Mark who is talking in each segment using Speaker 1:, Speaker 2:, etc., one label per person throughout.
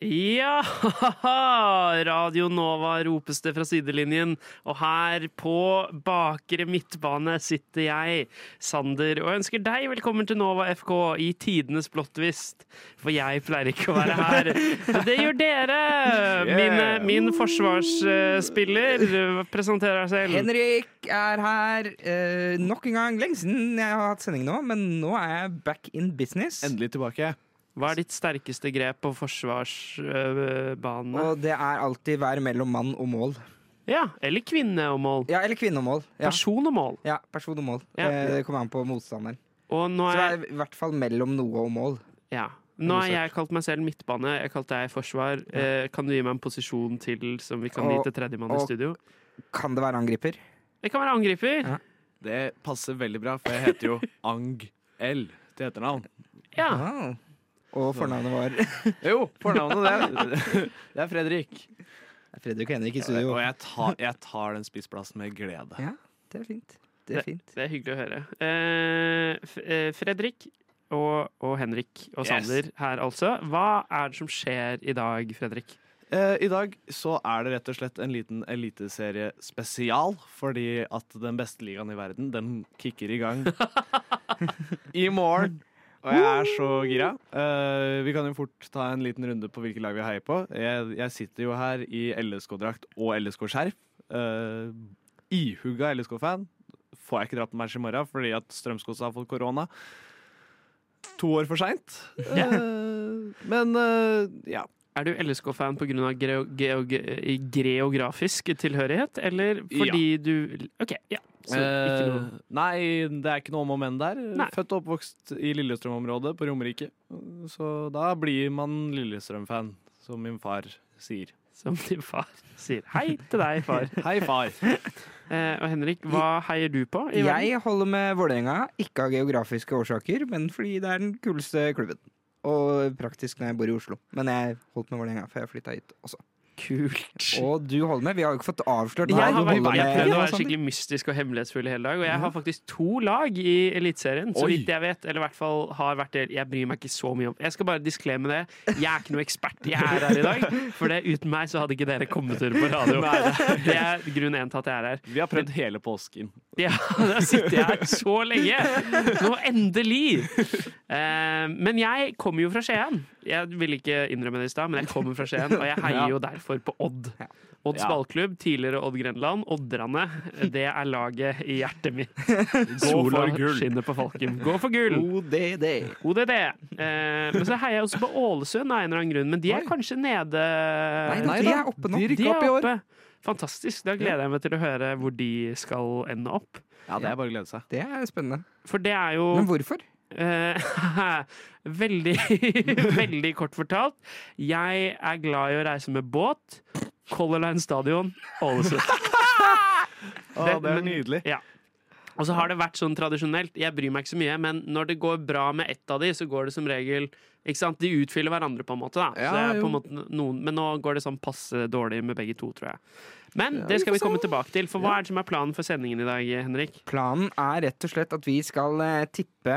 Speaker 1: Ja! Radio Nova ropes det fra sidelinjen. Og her på bakre midtbane sitter jeg, Sander, og ønsker deg velkommen til Nova FK i tidenes blåttvist. For jeg pleier ikke å være her. Men Det gjør dere! Mine, min forsvarsspiller eh, presenterer seg selv.
Speaker 2: Henrik er her eh, nok en gang. Lenge siden jeg har hatt sending nå, men nå er jeg back in business.
Speaker 3: Endelig tilbake.
Speaker 1: Hva er ditt sterkeste grep på forsvarsbane?
Speaker 2: Og det er alltid være mellom mann og mål.
Speaker 1: Ja, eller kvinne og mål.
Speaker 2: Ja, eller kvinne og mål. Ja,
Speaker 1: Person og mål.
Speaker 2: ja person og mål.
Speaker 1: Ja.
Speaker 2: Eh, det kommer an på motstanderen.
Speaker 1: Og nå
Speaker 2: Så det
Speaker 1: er
Speaker 2: er i hvert fall mellom noe og mål.
Speaker 1: Ja. Nå har jeg kalt meg selv midtbane, jeg kalte deg forsvar. Eh, kan du gi meg en posisjon til som vi kan gi
Speaker 2: Og-
Speaker 1: til tredjemann i
Speaker 2: og-
Speaker 1: studio?
Speaker 2: Kan det være angriper?
Speaker 1: Det kan være angriper.
Speaker 2: Ja.
Speaker 3: Det passer veldig bra, for jeg heter jo Ang-L til etternavn.
Speaker 1: Ja.
Speaker 2: Ah. Og fornavnet var
Speaker 3: Jo, fornavnet, det. Det er Fredrik.
Speaker 2: Fredrik og Henrik i studio.
Speaker 3: Og jeg tar, jeg tar den spissplassen med glede.
Speaker 2: Ja, det er fint. Det er fint.
Speaker 1: Det er hyggelig å høre. Eh, F- eh, Fredrik og, og Henrik og
Speaker 3: Yes.
Speaker 1: Sander her, altså. Hva er det som skjer i dag, Fredrik?
Speaker 3: Eh, I dag så er det rett og slett en liten eliteserie spesial, fordi at den beste ligaen i verden, den kicker i gang i morgen. Og jeg er så gira. Eh, vi kan jo fort ta en liten runde på hvilke lag vi heier på. Jeg, jeg sitter jo her i LSK-drakt og LSK-skjerf. Uh, ihugga LSK-fan. Får jeg ikke dratt på match i morgen fordi at Strømsgodset har fått korona. To år for seint. men eh, ja.
Speaker 1: Er du LSK-fan pga. Gre geog geografisk tilhørighet, eller fordi du OK, ja. Så ikke
Speaker 3: Eh,
Speaker 1: noe
Speaker 3: Nei, det er ikke noe om og men der.
Speaker 1: Nei.
Speaker 3: Født og oppvokst i Lillestrøm-området på Romerike. Så da blir man Lillestrøm-fan, som min far sier.
Speaker 1: som din far sier. Hei til deg, far.
Speaker 3: Hei, far!
Speaker 1: Eh, og Henrik, hva heier du på? i verden?
Speaker 2: Jeg holder med Vålerenga, ikke av geografiske årsaker, men fordi det er den kuleste klubben. Og praktisk når jeg bor i Oslo. Men jeg holdt med Vålerenga før jeg flytta hit også.
Speaker 1: Kult.
Speaker 2: Og du holder med? Vi har jo ikke fått avslørt
Speaker 1: Jeg har
Speaker 2: hva du
Speaker 1: vært
Speaker 2: holder
Speaker 1: jeg
Speaker 2: med.
Speaker 1: prøvd å være skikkelig mystisk og hemmelighetsfull i hele dag. Og jeg har faktisk to lag i Eliteserien, så
Speaker 3: Oi.
Speaker 1: vidt jeg vet. Eller i hvert fall har vært det. Jeg bryr meg ikke så mye om Jeg skal bare diskleme det. Jeg er ikke noe ekspert. Jeg er her i dag. For det, uten meg så hadde ikke dere kommet dere på radio. Det er grunn én til at jeg er her.
Speaker 3: Vi har prøvd hele påsken.
Speaker 1: Ja, da sitter jeg her så lenge! Nå endelig! Eh, men jeg kommer jo fra Skien. Jeg ville ikke innrømme det i stad, men jeg kommer fra Skien, og jeg heier jo derfor på Odd. Odds
Speaker 3: Ja.
Speaker 1: ballklubb, tidligere Odd Grenland. Odderne, det er laget i hjertet mitt. Gå
Speaker 3: Sol og
Speaker 1: for
Speaker 3: gull.
Speaker 1: skinnet på falken. Gå for gull!
Speaker 2: ODD.
Speaker 1: ODD. Eh, men så heier jeg også på Ålesund av en eller annen grunn, men de er
Speaker 2: Oi.
Speaker 1: kanskje nede
Speaker 2: Nei,
Speaker 3: Nei
Speaker 2: de
Speaker 3: da,
Speaker 2: er oppe nå.
Speaker 3: de rykker
Speaker 1: De er
Speaker 3: opp i år.
Speaker 1: oppe. Fantastisk. Da gleder jeg meg til å høre hvor de skal ende opp.
Speaker 3: Ja, det er bare å glede seg.
Speaker 2: Det er spennende.
Speaker 1: For det er jo
Speaker 2: Men hvorfor?
Speaker 1: Eh, veldig, veldig kort fortalt. Jeg er glad i å reise med båt. Color Line Stadion, Ålesund.
Speaker 3: Å, det er nydelig.
Speaker 1: Ja. Og så har det vært sånn tradisjonelt. Jeg bryr meg ikke så mye, men når det går bra med ett av de, så går det som regel ikke sant? De utfyller hverandre, på en måte. Da.
Speaker 3: Ja,
Speaker 1: så jeg er på en
Speaker 3: jo.
Speaker 1: måte noen, men nå går det sånn passe dårlig med begge to, tror jeg. Men det skal vi komme tilbake til. For hva er det som er planen for sendingen i dag, Henrik?
Speaker 2: Planen er rett og slett at vi skal eh, tippe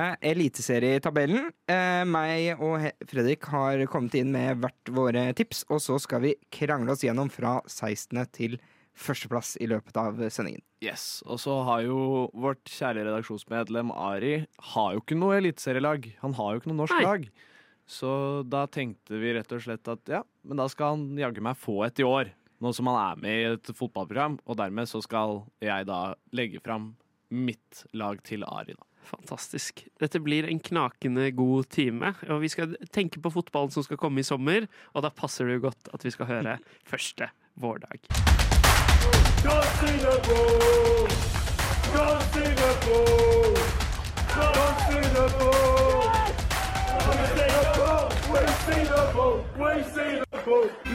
Speaker 2: eliteserietabellen. Eh, meg og He Fredrik har kommet inn med hvert våre tips, og så skal vi krangle oss gjennom fra 16. til førsteplass i løpet av sendingen.
Speaker 3: Yes, Og så har jo vårt kjære redaksjonsmedlem Ari Har jo ikke noe eliteserielag. Han har jo ikke noe norsk
Speaker 1: Nei.
Speaker 3: lag. Så da tenkte vi rett og slett at ja, men da skal han jaggu meg få et i år. Nå som han er med i et fotballprogram. Og dermed så skal jeg da legge fram mitt lag til Ari, da.
Speaker 1: Fantastisk. Dette blir en knakende god time. Og vi skal tenke på fotballen som skal komme i sommer, og da passer det jo godt at vi skal høre første vårdag.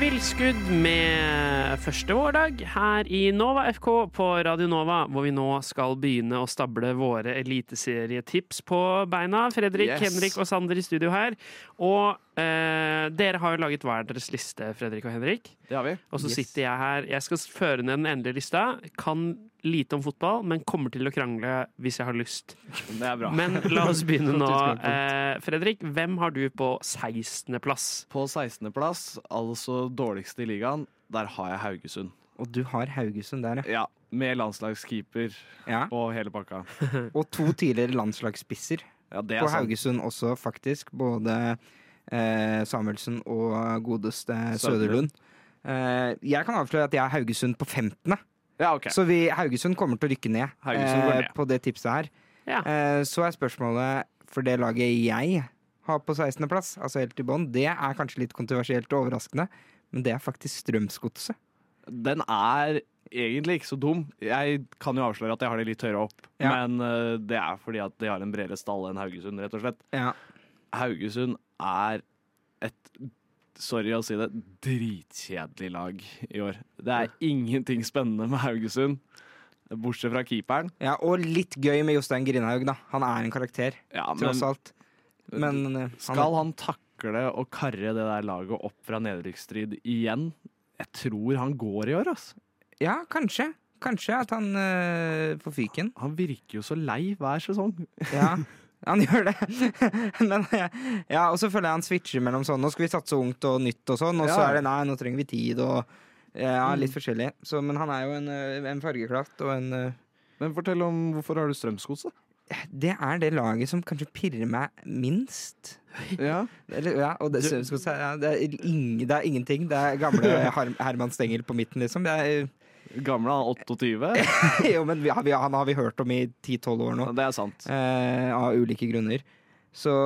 Speaker 1: Villskudd med første vårdag her i Nova FK på Radio Nova, hvor vi nå skal begynne å stable våre eliteserietips på beina. Fredrik,
Speaker 3: Yes.
Speaker 1: Henrik og Sander i studio her. Og eh, dere har jo laget hver deres liste, Fredrik og Henrik.
Speaker 3: Det har vi.
Speaker 1: Og så
Speaker 2: Yes.
Speaker 1: sitter jeg her. Jeg skal føre ned den endelige lista. Kan lite om fotball, men kommer til å krangle hvis jeg har lyst.
Speaker 3: Det er bra.
Speaker 1: Men la oss begynne nå.
Speaker 2: Godt
Speaker 1: Eh, Fredrik, hvem har du på 16.-plass?
Speaker 3: På 16.-plass, altså dårligste i ligaen, der har jeg Haugesund.
Speaker 2: Og du har Haugesund der, ja.
Speaker 3: Ja, Med landslagskeeper
Speaker 2: ja.
Speaker 3: og hele pakka.
Speaker 2: Og to tidligere landslagsspisser
Speaker 3: Ja, det
Speaker 2: på
Speaker 3: er sant.
Speaker 2: Haugesund også, faktisk. Både eh, Samuelsen og godeste Søderlund.
Speaker 3: Søderlund.
Speaker 2: Eh, jeg kan avsløre at jeg er Haugesund på 15.
Speaker 3: Ja, ok.
Speaker 2: Så vi, Haugesund kommer til å rykke ned,
Speaker 3: Haugesund går
Speaker 2: eh,
Speaker 3: ned.
Speaker 2: på det tipset her.
Speaker 1: Ja.
Speaker 2: Eh, så er spørsmålet for det laget jeg har på 16.-plass, altså helt i bånn, det er kanskje litt kontroversielt og overraskende, men det er faktisk Strømsgodset.
Speaker 3: Den er egentlig ikke så dum. Jeg kan jo avsløre at jeg har det litt høyere opp,
Speaker 2: Ja.
Speaker 3: men eh, det er fordi at de har en bredere stall enn Haugesund, rett og slett.
Speaker 2: Ja.
Speaker 3: Haugesund er et Sorry å si det, dritkjedelig lag i år. Det er ingenting spennende med Haugesund, bortsett fra keeperen.
Speaker 2: ja, og litt gøy med Jostein Grindhaug, da. Han er en karakter,
Speaker 3: Ja, men
Speaker 2: tross alt. Men eh,
Speaker 3: skal han takle å karre det der laget opp fra nedrykksstrid igjen? Jeg tror han går i år, altså.
Speaker 2: Ja, kanskje. Kanskje at han eh, får fyken.
Speaker 3: Han virker jo så lei hver sesong.
Speaker 2: Ja, han gjør det. Men eh, ja, og så føler jeg han switcher mellom sånn Nå skal vi satse ungt og nytt og sånn, og så
Speaker 3: Ja.
Speaker 2: er det nei, nå trenger vi tid og eh, Ja, litt forskjellig. Så, men han er jo en, eh, en fargeklatt og en eh,
Speaker 3: Men fortell om hvorfor har du Strømsgodset?
Speaker 2: Det er det laget som kanskje pirrer meg minst.
Speaker 3: Ja.
Speaker 2: Eller, ja, og det,
Speaker 1: Du-
Speaker 2: skal vi si, ja, det, er ing, det er ingenting. Det er gamle Har- Herman Stengel på midten, liksom. Det er,
Speaker 3: Gamle han er 28.
Speaker 2: jo, men vi, har- vi, han har vi hørt om i 10-12 år nå.
Speaker 3: Det er sant.
Speaker 2: Eh, av ulike grunner. Så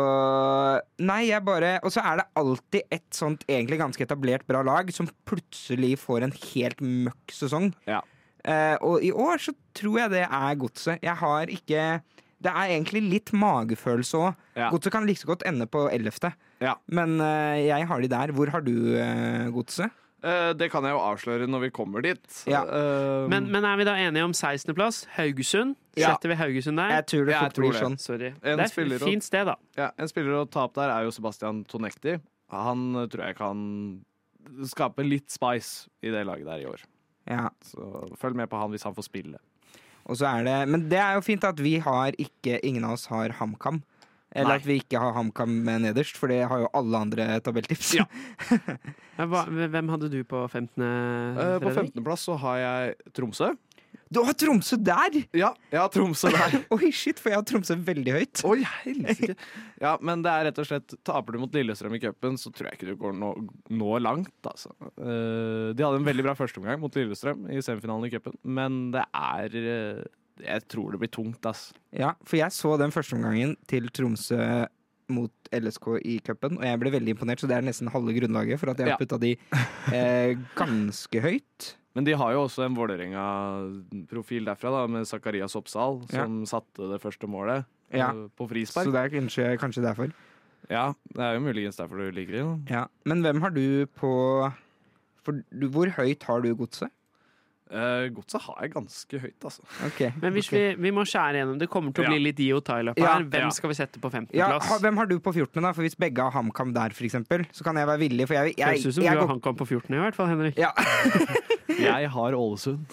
Speaker 2: Nei, jeg bare Og så er det alltid et sånt egentlig ganske etablert bra lag som plutselig får en helt møkk sesong.
Speaker 3: Ja.
Speaker 2: Eh, og i år så tror jeg det er godset. Jeg har ikke Det er egentlig litt magefølelse òg.
Speaker 3: Ja.
Speaker 2: Godset kan like så godt ende på 11.
Speaker 3: Ja.
Speaker 2: Men eh, jeg har de der. Hvor har du eh, godset?
Speaker 3: Eh, det kan jeg jo avsløre når vi kommer dit.
Speaker 2: Ja.
Speaker 3: Eh,
Speaker 2: Um,
Speaker 1: Men, men er vi da enige om 16.-plass? Haugesund?
Speaker 3: Ja.
Speaker 1: Setter vi Haugesund der?
Speaker 2: Jeg tror det
Speaker 3: jeg
Speaker 2: fort
Speaker 3: tror
Speaker 2: blir
Speaker 3: det.
Speaker 2: sånn.
Speaker 1: Sorry. Det
Speaker 3: En
Speaker 1: er
Speaker 3: spiller
Speaker 1: et
Speaker 3: og-
Speaker 1: fint sted, da.
Speaker 3: ja, en spiller å ta opp der er jo Sebastian Tonekti. Han eh, tror jeg kan skape litt spice i det laget der i år.
Speaker 2: Ja.
Speaker 3: Så følg med på han hvis han får spille.
Speaker 2: Og så er det, men det er jo fint at vi har ikke, ingen av oss har HamKam. Eller
Speaker 3: Nei.
Speaker 2: at vi ikke har HamKam nederst, for det har jo alle andre tabelltips.
Speaker 3: Ja.
Speaker 1: Ja, Hva, hvem hadde du på 15.,
Speaker 3: Eh, på
Speaker 1: Fredrik?
Speaker 3: 15.-plass så har jeg Tromsø.
Speaker 2: Du har Tromsø der!
Speaker 3: Ja, jeg har Tromsø der.
Speaker 2: Oi, shit, for jeg har Tromsø veldig høyt.
Speaker 3: Oi, helsike! Ja, men det er rett og slett Taper du mot Lillestrøm i cupen, så tror jeg ikke du går nå, nå langt, altså. Eh, de hadde en veldig bra førsteomgang mot Lillestrøm i semifinalen i cupen, men det er eh, Jeg tror det blir tungt, ass.
Speaker 2: Ja, for jeg så den første omgangen til Tromsø mot LSK i cupen, og jeg ble veldig imponert, så det er nesten halve grunnlaget for at jeg har
Speaker 3: Ja.
Speaker 2: putta de eh, ganske høyt.
Speaker 3: Men de har jo også en Vålerenga-profil derfra, da, med Zakarias Oppsal, som satte det første målet
Speaker 2: Ja.
Speaker 3: eh, på
Speaker 2: Så
Speaker 3: frispark.
Speaker 2: det er kanskje, kanskje derfor.
Speaker 3: Ja, det er jo muligens derfor du ligger i. da.
Speaker 2: Ja. Men hvem har du på for, du, Hvor høyt har du godset?
Speaker 3: Eh, Godset har jeg ganske høyt, altså.
Speaker 2: Ok.
Speaker 1: Men hvis vi, vi må skjære gjennom. Det kommer til å
Speaker 3: Ja.
Speaker 1: bli litt Dio Tyler
Speaker 2: Ja.
Speaker 1: her. Hvem
Speaker 3: Ja.
Speaker 1: skal vi sette på
Speaker 2: Ja,
Speaker 1: 15.-plass?
Speaker 2: ha, hvem har du på 14., da? For hvis begge har HamKam der, for eksempel, så kan jeg være villig, for jeg, jeg,
Speaker 1: Høres
Speaker 2: jeg,
Speaker 1: ut som du
Speaker 2: går-
Speaker 1: og han kom på 14. i hvert fall, Henrik.
Speaker 2: ja.
Speaker 3: Jeg har Ålesund.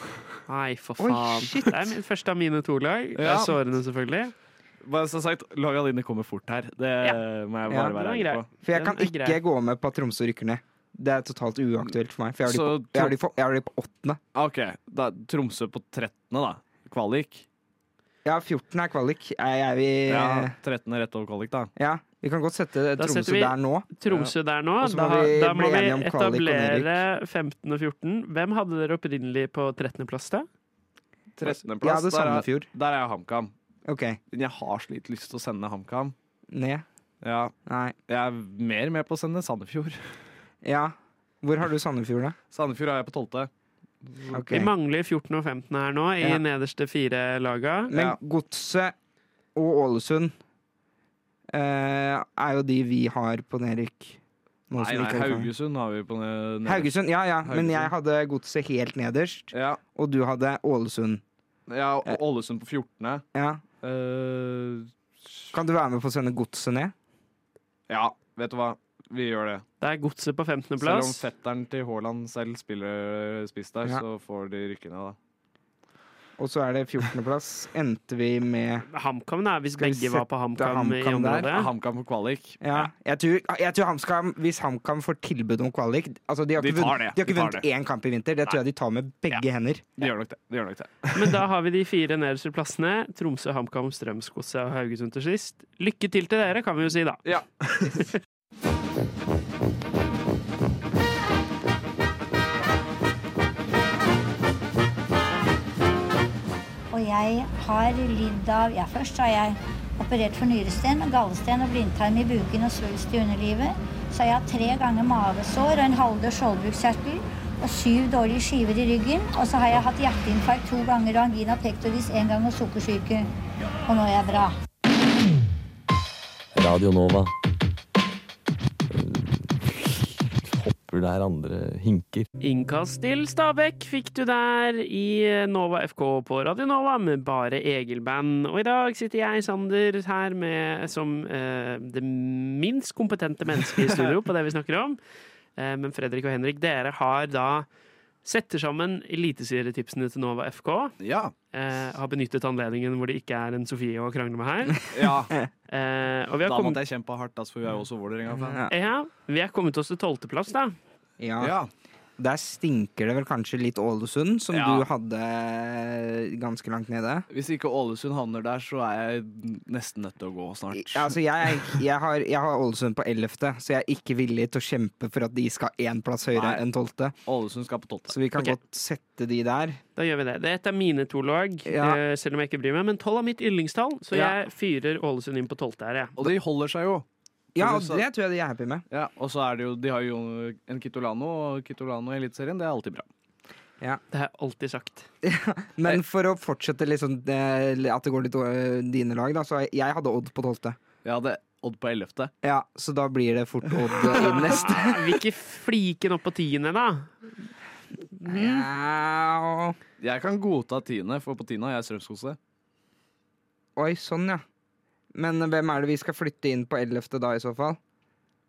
Speaker 1: Nei, for
Speaker 2: Oi,
Speaker 1: faen. det er min første av mine to lag. Det
Speaker 3: Ja.
Speaker 1: er sårende, selvfølgelig.
Speaker 3: Bare så sagt, laga dine kommer fort her. Det må jeg
Speaker 2: Ja,
Speaker 3: bare
Speaker 1: var
Speaker 2: den
Speaker 3: være ærlig
Speaker 1: grei.
Speaker 3: på.
Speaker 2: For jeg
Speaker 1: Den
Speaker 2: kan
Speaker 1: er
Speaker 2: ikke
Speaker 1: grei.
Speaker 2: gå med på at Tromsø rykker ned. Det er totalt uaktuelt for meg, for jeg har de
Speaker 3: Så
Speaker 2: på- jeg har de på- jeg har de på åttende.
Speaker 3: Ah, Ok, da Tromsø på 13. da. Kvalik.
Speaker 2: Ja, 14 er kvalik. Jeg, jeg vil
Speaker 3: Ja,
Speaker 2: ja.
Speaker 3: 13. rett over kvalik, da.
Speaker 2: Vi kan godt sette
Speaker 1: Da
Speaker 2: Tromsø
Speaker 1: setter vi-
Speaker 2: der nå.
Speaker 1: Tromsø der nå.
Speaker 2: Og så må
Speaker 1: Da,
Speaker 2: vi
Speaker 1: da må
Speaker 2: bli
Speaker 1: vi
Speaker 2: enige om kvalik og
Speaker 1: etablere 15 og 14. Hvem hadde dere opprinnelig på 13.-plass, da?
Speaker 3: 13.
Speaker 2: Jeg hadde
Speaker 3: plass, der, er,
Speaker 2: Sandefjord.
Speaker 3: der er jeg HamKam.
Speaker 2: OK.
Speaker 3: Men jeg har så litt lyst til å sende HamKam.
Speaker 2: Ned.
Speaker 3: Ja,
Speaker 2: Nei.
Speaker 3: jeg er mer med på å sende Sandefjord.
Speaker 2: Ja. Hvor har du Sandefjord, da?
Speaker 3: Sandefjord er jeg på 12.
Speaker 2: Ok.
Speaker 1: Vi mangler 14 og 15 her nå, i
Speaker 2: Ja.
Speaker 1: nederste fire laga.
Speaker 2: Men
Speaker 3: Ja.
Speaker 2: Godset og Ålesund eh, er jo de vi har på nedrykk. Nå
Speaker 3: Nei,
Speaker 2: som
Speaker 3: nei,
Speaker 2: ikke er-
Speaker 3: Haugesund har vi på ned- ned-
Speaker 2: Haugesund, ja, ja. Men
Speaker 3: Haugesund.
Speaker 2: jeg hadde godset helt nederst,
Speaker 3: Ja,
Speaker 2: og du hadde Ålesund.
Speaker 3: ja
Speaker 2: Eh.
Speaker 3: og Ålesund på 14.
Speaker 2: Ja.
Speaker 3: Eh,
Speaker 2: Kan du være med på å sende godset ned?
Speaker 3: ja, vet du hva? Vi gjør det.
Speaker 1: Det er Godset på 15.
Speaker 3: Selv om
Speaker 1: plass.
Speaker 3: fetteren til Haaland selv spiller eh, spiss der,
Speaker 2: Ja.
Speaker 3: så får de rykke ned, da.
Speaker 2: Og så er det 14.-plass. Endte vi med
Speaker 1: HamKam, da, hvis
Speaker 2: Skal vi
Speaker 1: begge var på
Speaker 2: sette
Speaker 1: HamKam i
Speaker 2: HamKam der?
Speaker 1: området.
Speaker 2: Ah,
Speaker 3: HamKam på kvalik.
Speaker 2: Ja, jeg tror, jeg tror HamKam, hvis HamKam får tilbud om kvalik altså De har
Speaker 3: De
Speaker 2: ikke,
Speaker 3: tar det,
Speaker 2: vunnet- de har ikke
Speaker 3: de tar
Speaker 2: vunnet én kamp i vinter. Det tror jeg de tar med begge hender.
Speaker 3: De gjør nok det. De gjør nok det.
Speaker 1: Men da har vi de fire nederste plassene. Tromsø, HamKam, Strømsgodset og Haugesund til sist. Lykke til til dere, kan vi jo si, da.
Speaker 3: Ja.
Speaker 4: Og jeg har lidd av Ja, først har jeg operert for nyresten, gallesten og blindtarm i buken og svulst i underlivet. Så har jeg hatt tre ganger mavesår og en halvdød skjoldbruskkjertel og syv dårlige skiver i ryggen. Og så har jeg hatt hjerteinfarkt to ganger og angina pectoris én gang og sukkersyke. Og nå er jeg bra.
Speaker 5: Radio Nova. Eh, Hopper der andre hinker.
Speaker 1: Innkast til Stabekk fikk du der i Nova FK på Radio Nova med bare Egil-band. Og i dag sitter jeg, Sander, her med, som eh, det minst kompetente mennesket i studio på det vi snakker om. Eh, men Fredrik og Henrik, dere har da setter sammen eliteserietipsene til Nova FK.
Speaker 3: Ja.
Speaker 1: Eh, har benyttet anledningen hvor det ikke er en Sofie å krangle med her.
Speaker 3: ja.
Speaker 1: Eh, og vi har,
Speaker 3: Da
Speaker 1: kommet,
Speaker 3: måtte jeg kjempe hardt, altså, for vi er jo også Vålerenga-fan.
Speaker 2: Ja.
Speaker 1: ja, vi har kommet oss til tolvteplass, da.
Speaker 3: Ja.
Speaker 2: Der stinker det vel kanskje litt Ålesund, som
Speaker 3: Ja.
Speaker 2: du hadde ganske langt nede.
Speaker 3: Hvis ikke Ålesund havner der, så er jeg nesten nødt til å gå snart.
Speaker 2: Ja, altså jeg, jeg, har, jeg har Ålesund på 11., så jeg er ikke villig til å kjempe for at de skal én plass høyere
Speaker 3: Nei.
Speaker 2: enn 12.
Speaker 3: Ålesund skal på tolvte.
Speaker 2: Så vi kan
Speaker 1: Ok.
Speaker 2: godt sette de der.
Speaker 1: Da gjør vi det. Dette er mine to lag,
Speaker 2: Ja.
Speaker 1: eh, selv om jeg ikke bryr meg. Men tolv er mitt yndlingstall, så
Speaker 3: Ja.
Speaker 1: jeg fyrer Ålesund inn på tolvte her, jeg.
Speaker 3: Og de holder seg jo.
Speaker 2: Ja,
Speaker 3: Men
Speaker 2: og
Speaker 3: så-
Speaker 2: det tror jeg de er happy med.
Speaker 3: Ja, og så er det jo, De har jo en Kitolano, og Kitolano i Eliteserien, det er alltid bra.
Speaker 1: Det har jeg alltid sagt.
Speaker 2: Men for å fortsette liksom, eh, at det går litt over dine lag, da, så jeg hadde Odd på 12.
Speaker 3: Jeg hadde Odd på 11.
Speaker 2: Ja, så da blir det fort Odd i den neste.
Speaker 1: Er vi ikke fliken opp på tiende, da?
Speaker 2: Ja, og-
Speaker 3: Jeg kan godta tiende, for på tiende har jeg Strømsgodset.
Speaker 2: Oi, sånn, ja. Men hvem er det vi skal flytte inn på 11. da, i så fall?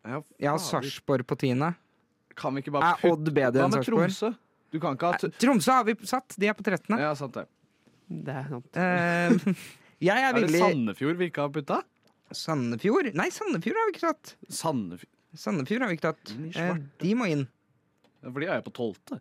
Speaker 3: Ja,
Speaker 2: Jeg har
Speaker 3: fader.
Speaker 2: Sarpsborg på 10.
Speaker 3: Kan vi ikke bare
Speaker 2: Er Odd bedre
Speaker 3: Hva
Speaker 2: enn
Speaker 3: med
Speaker 2: Sarpsborg?
Speaker 3: Tromsø? Du kan ikke ha t-
Speaker 2: Tromsø har vi satt, de er på 13.
Speaker 3: Ja, sant det.
Speaker 1: Det er sant.
Speaker 2: Eh, jeg er
Speaker 3: Er det
Speaker 2: villig
Speaker 3: Sandefjord vi ikke har putta?
Speaker 2: Sandefjord? Nei, Sandefjord har vi ikke tatt.
Speaker 3: Sandefjord
Speaker 2: Sandefjord har vi ikke tatt.
Speaker 3: Inn i
Speaker 2: Eh,
Speaker 3: svarte.
Speaker 2: de må inn.
Speaker 3: For de har jeg på tolvte.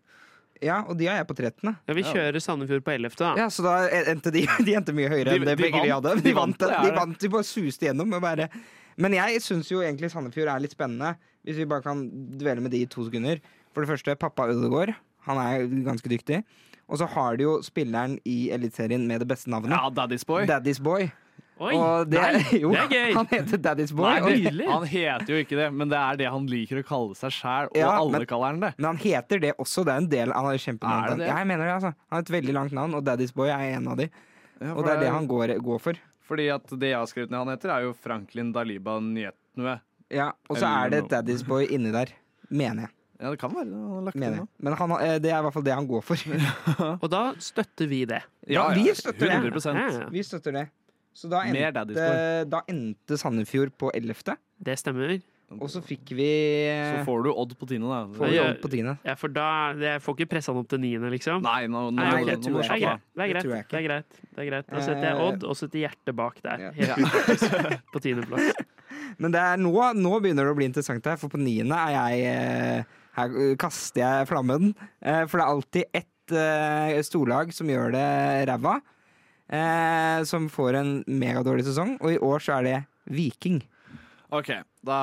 Speaker 2: Ja, og de har jeg på 13.
Speaker 1: Ja, vi kjører Sandefjord på ellevte, da.
Speaker 2: Ja, så da endte de, de endte mye høyere
Speaker 3: De-
Speaker 2: enn det
Speaker 3: de
Speaker 2: begge de
Speaker 3: vant.
Speaker 2: hadde.
Speaker 3: De
Speaker 2: De vant,
Speaker 3: vant,
Speaker 2: det,
Speaker 3: det er
Speaker 2: de
Speaker 3: det.
Speaker 2: vant, de bare suste gjennom. og Bare. Men jeg syns jo egentlig Sandefjord er litt spennende, hvis vi bare kan dvele med de i to sekunder. For det første, pappa Ødegaard. Han er jo ganske dyktig. Og så har de jo spilleren i Eliteserien med det beste navnet.
Speaker 3: Ja, Daddy's Boy.
Speaker 2: Daddy's Boy.
Speaker 1: Oi!
Speaker 2: og det,
Speaker 1: nei,
Speaker 2: jo,
Speaker 1: det er gøy!
Speaker 2: Han heter Daddy's Boy.
Speaker 1: Nei,
Speaker 2: og,
Speaker 1: det- Nydelig.
Speaker 3: Han heter jo ikke det, men det er det han liker å kalle seg sjæl, og
Speaker 2: Ja,
Speaker 3: alle
Speaker 2: men-
Speaker 3: kaller han det.
Speaker 2: men han heter det også. Det er en del av
Speaker 3: Er det
Speaker 2: kjempenavnet.
Speaker 3: det?
Speaker 2: Ja, jeg mener det, altså. Han har et veldig langt navn, og Daddy's Boy er en av de. Og det er det han går, går for.
Speaker 3: Fordi at det jeg har skrevet ned han heter, er jo Franklin Daliba Nyetnue.
Speaker 2: Ja, og så
Speaker 3: Eller
Speaker 2: er det
Speaker 3: noe.
Speaker 2: Daddy's Boy inni der. Mener jeg.
Speaker 3: Ja, det kan være det. Han har lagt
Speaker 2: Mener
Speaker 3: inn
Speaker 2: jeg.
Speaker 3: nå.
Speaker 2: Men han, har- eh, det er i hvert fall det han går for.
Speaker 1: Og da støtter vi det.
Speaker 2: Ja, vi støtter det.
Speaker 1: Ja,
Speaker 3: 100
Speaker 1: ja.
Speaker 2: Vi støtter det. Så da
Speaker 3: Mer
Speaker 2: endte,
Speaker 3: Daddy's Boy.
Speaker 2: da endte Sandefjord på 11.,
Speaker 1: Det stemmer.
Speaker 2: og så fikk vi
Speaker 3: Så får du Odd på tiende, da.
Speaker 2: får vi
Speaker 1: Ja.
Speaker 2: Odd på 10.
Speaker 1: Ja, for da Jeg får ikke pressa han opp til niende, liksom.
Speaker 3: Nei, nå, nå,
Speaker 1: Nei, ok,
Speaker 3: nå,
Speaker 2: det
Speaker 3: nå,
Speaker 2: tror
Speaker 3: må
Speaker 1: Det er
Speaker 2: jeg
Speaker 3: slappe av.
Speaker 1: greit. Det er
Speaker 2: Det tror jeg
Speaker 1: greit. Det er greit. Det er greit. Da setter jeg
Speaker 2: Eh,
Speaker 1: Odd og setter hjertet bak der.
Speaker 2: ja.
Speaker 1: Helt utenfor på tiendeplass.
Speaker 2: Men det er nå, nå begynner det å bli interessant her, for på 9. er jeg eh, Her eh, kaster jeg flammen. Eh, For det er alltid ett eh, storlag som gjør det ræva. eh, Som får en megadårlig sesong, og i år så er det Viking.
Speaker 3: OK, da,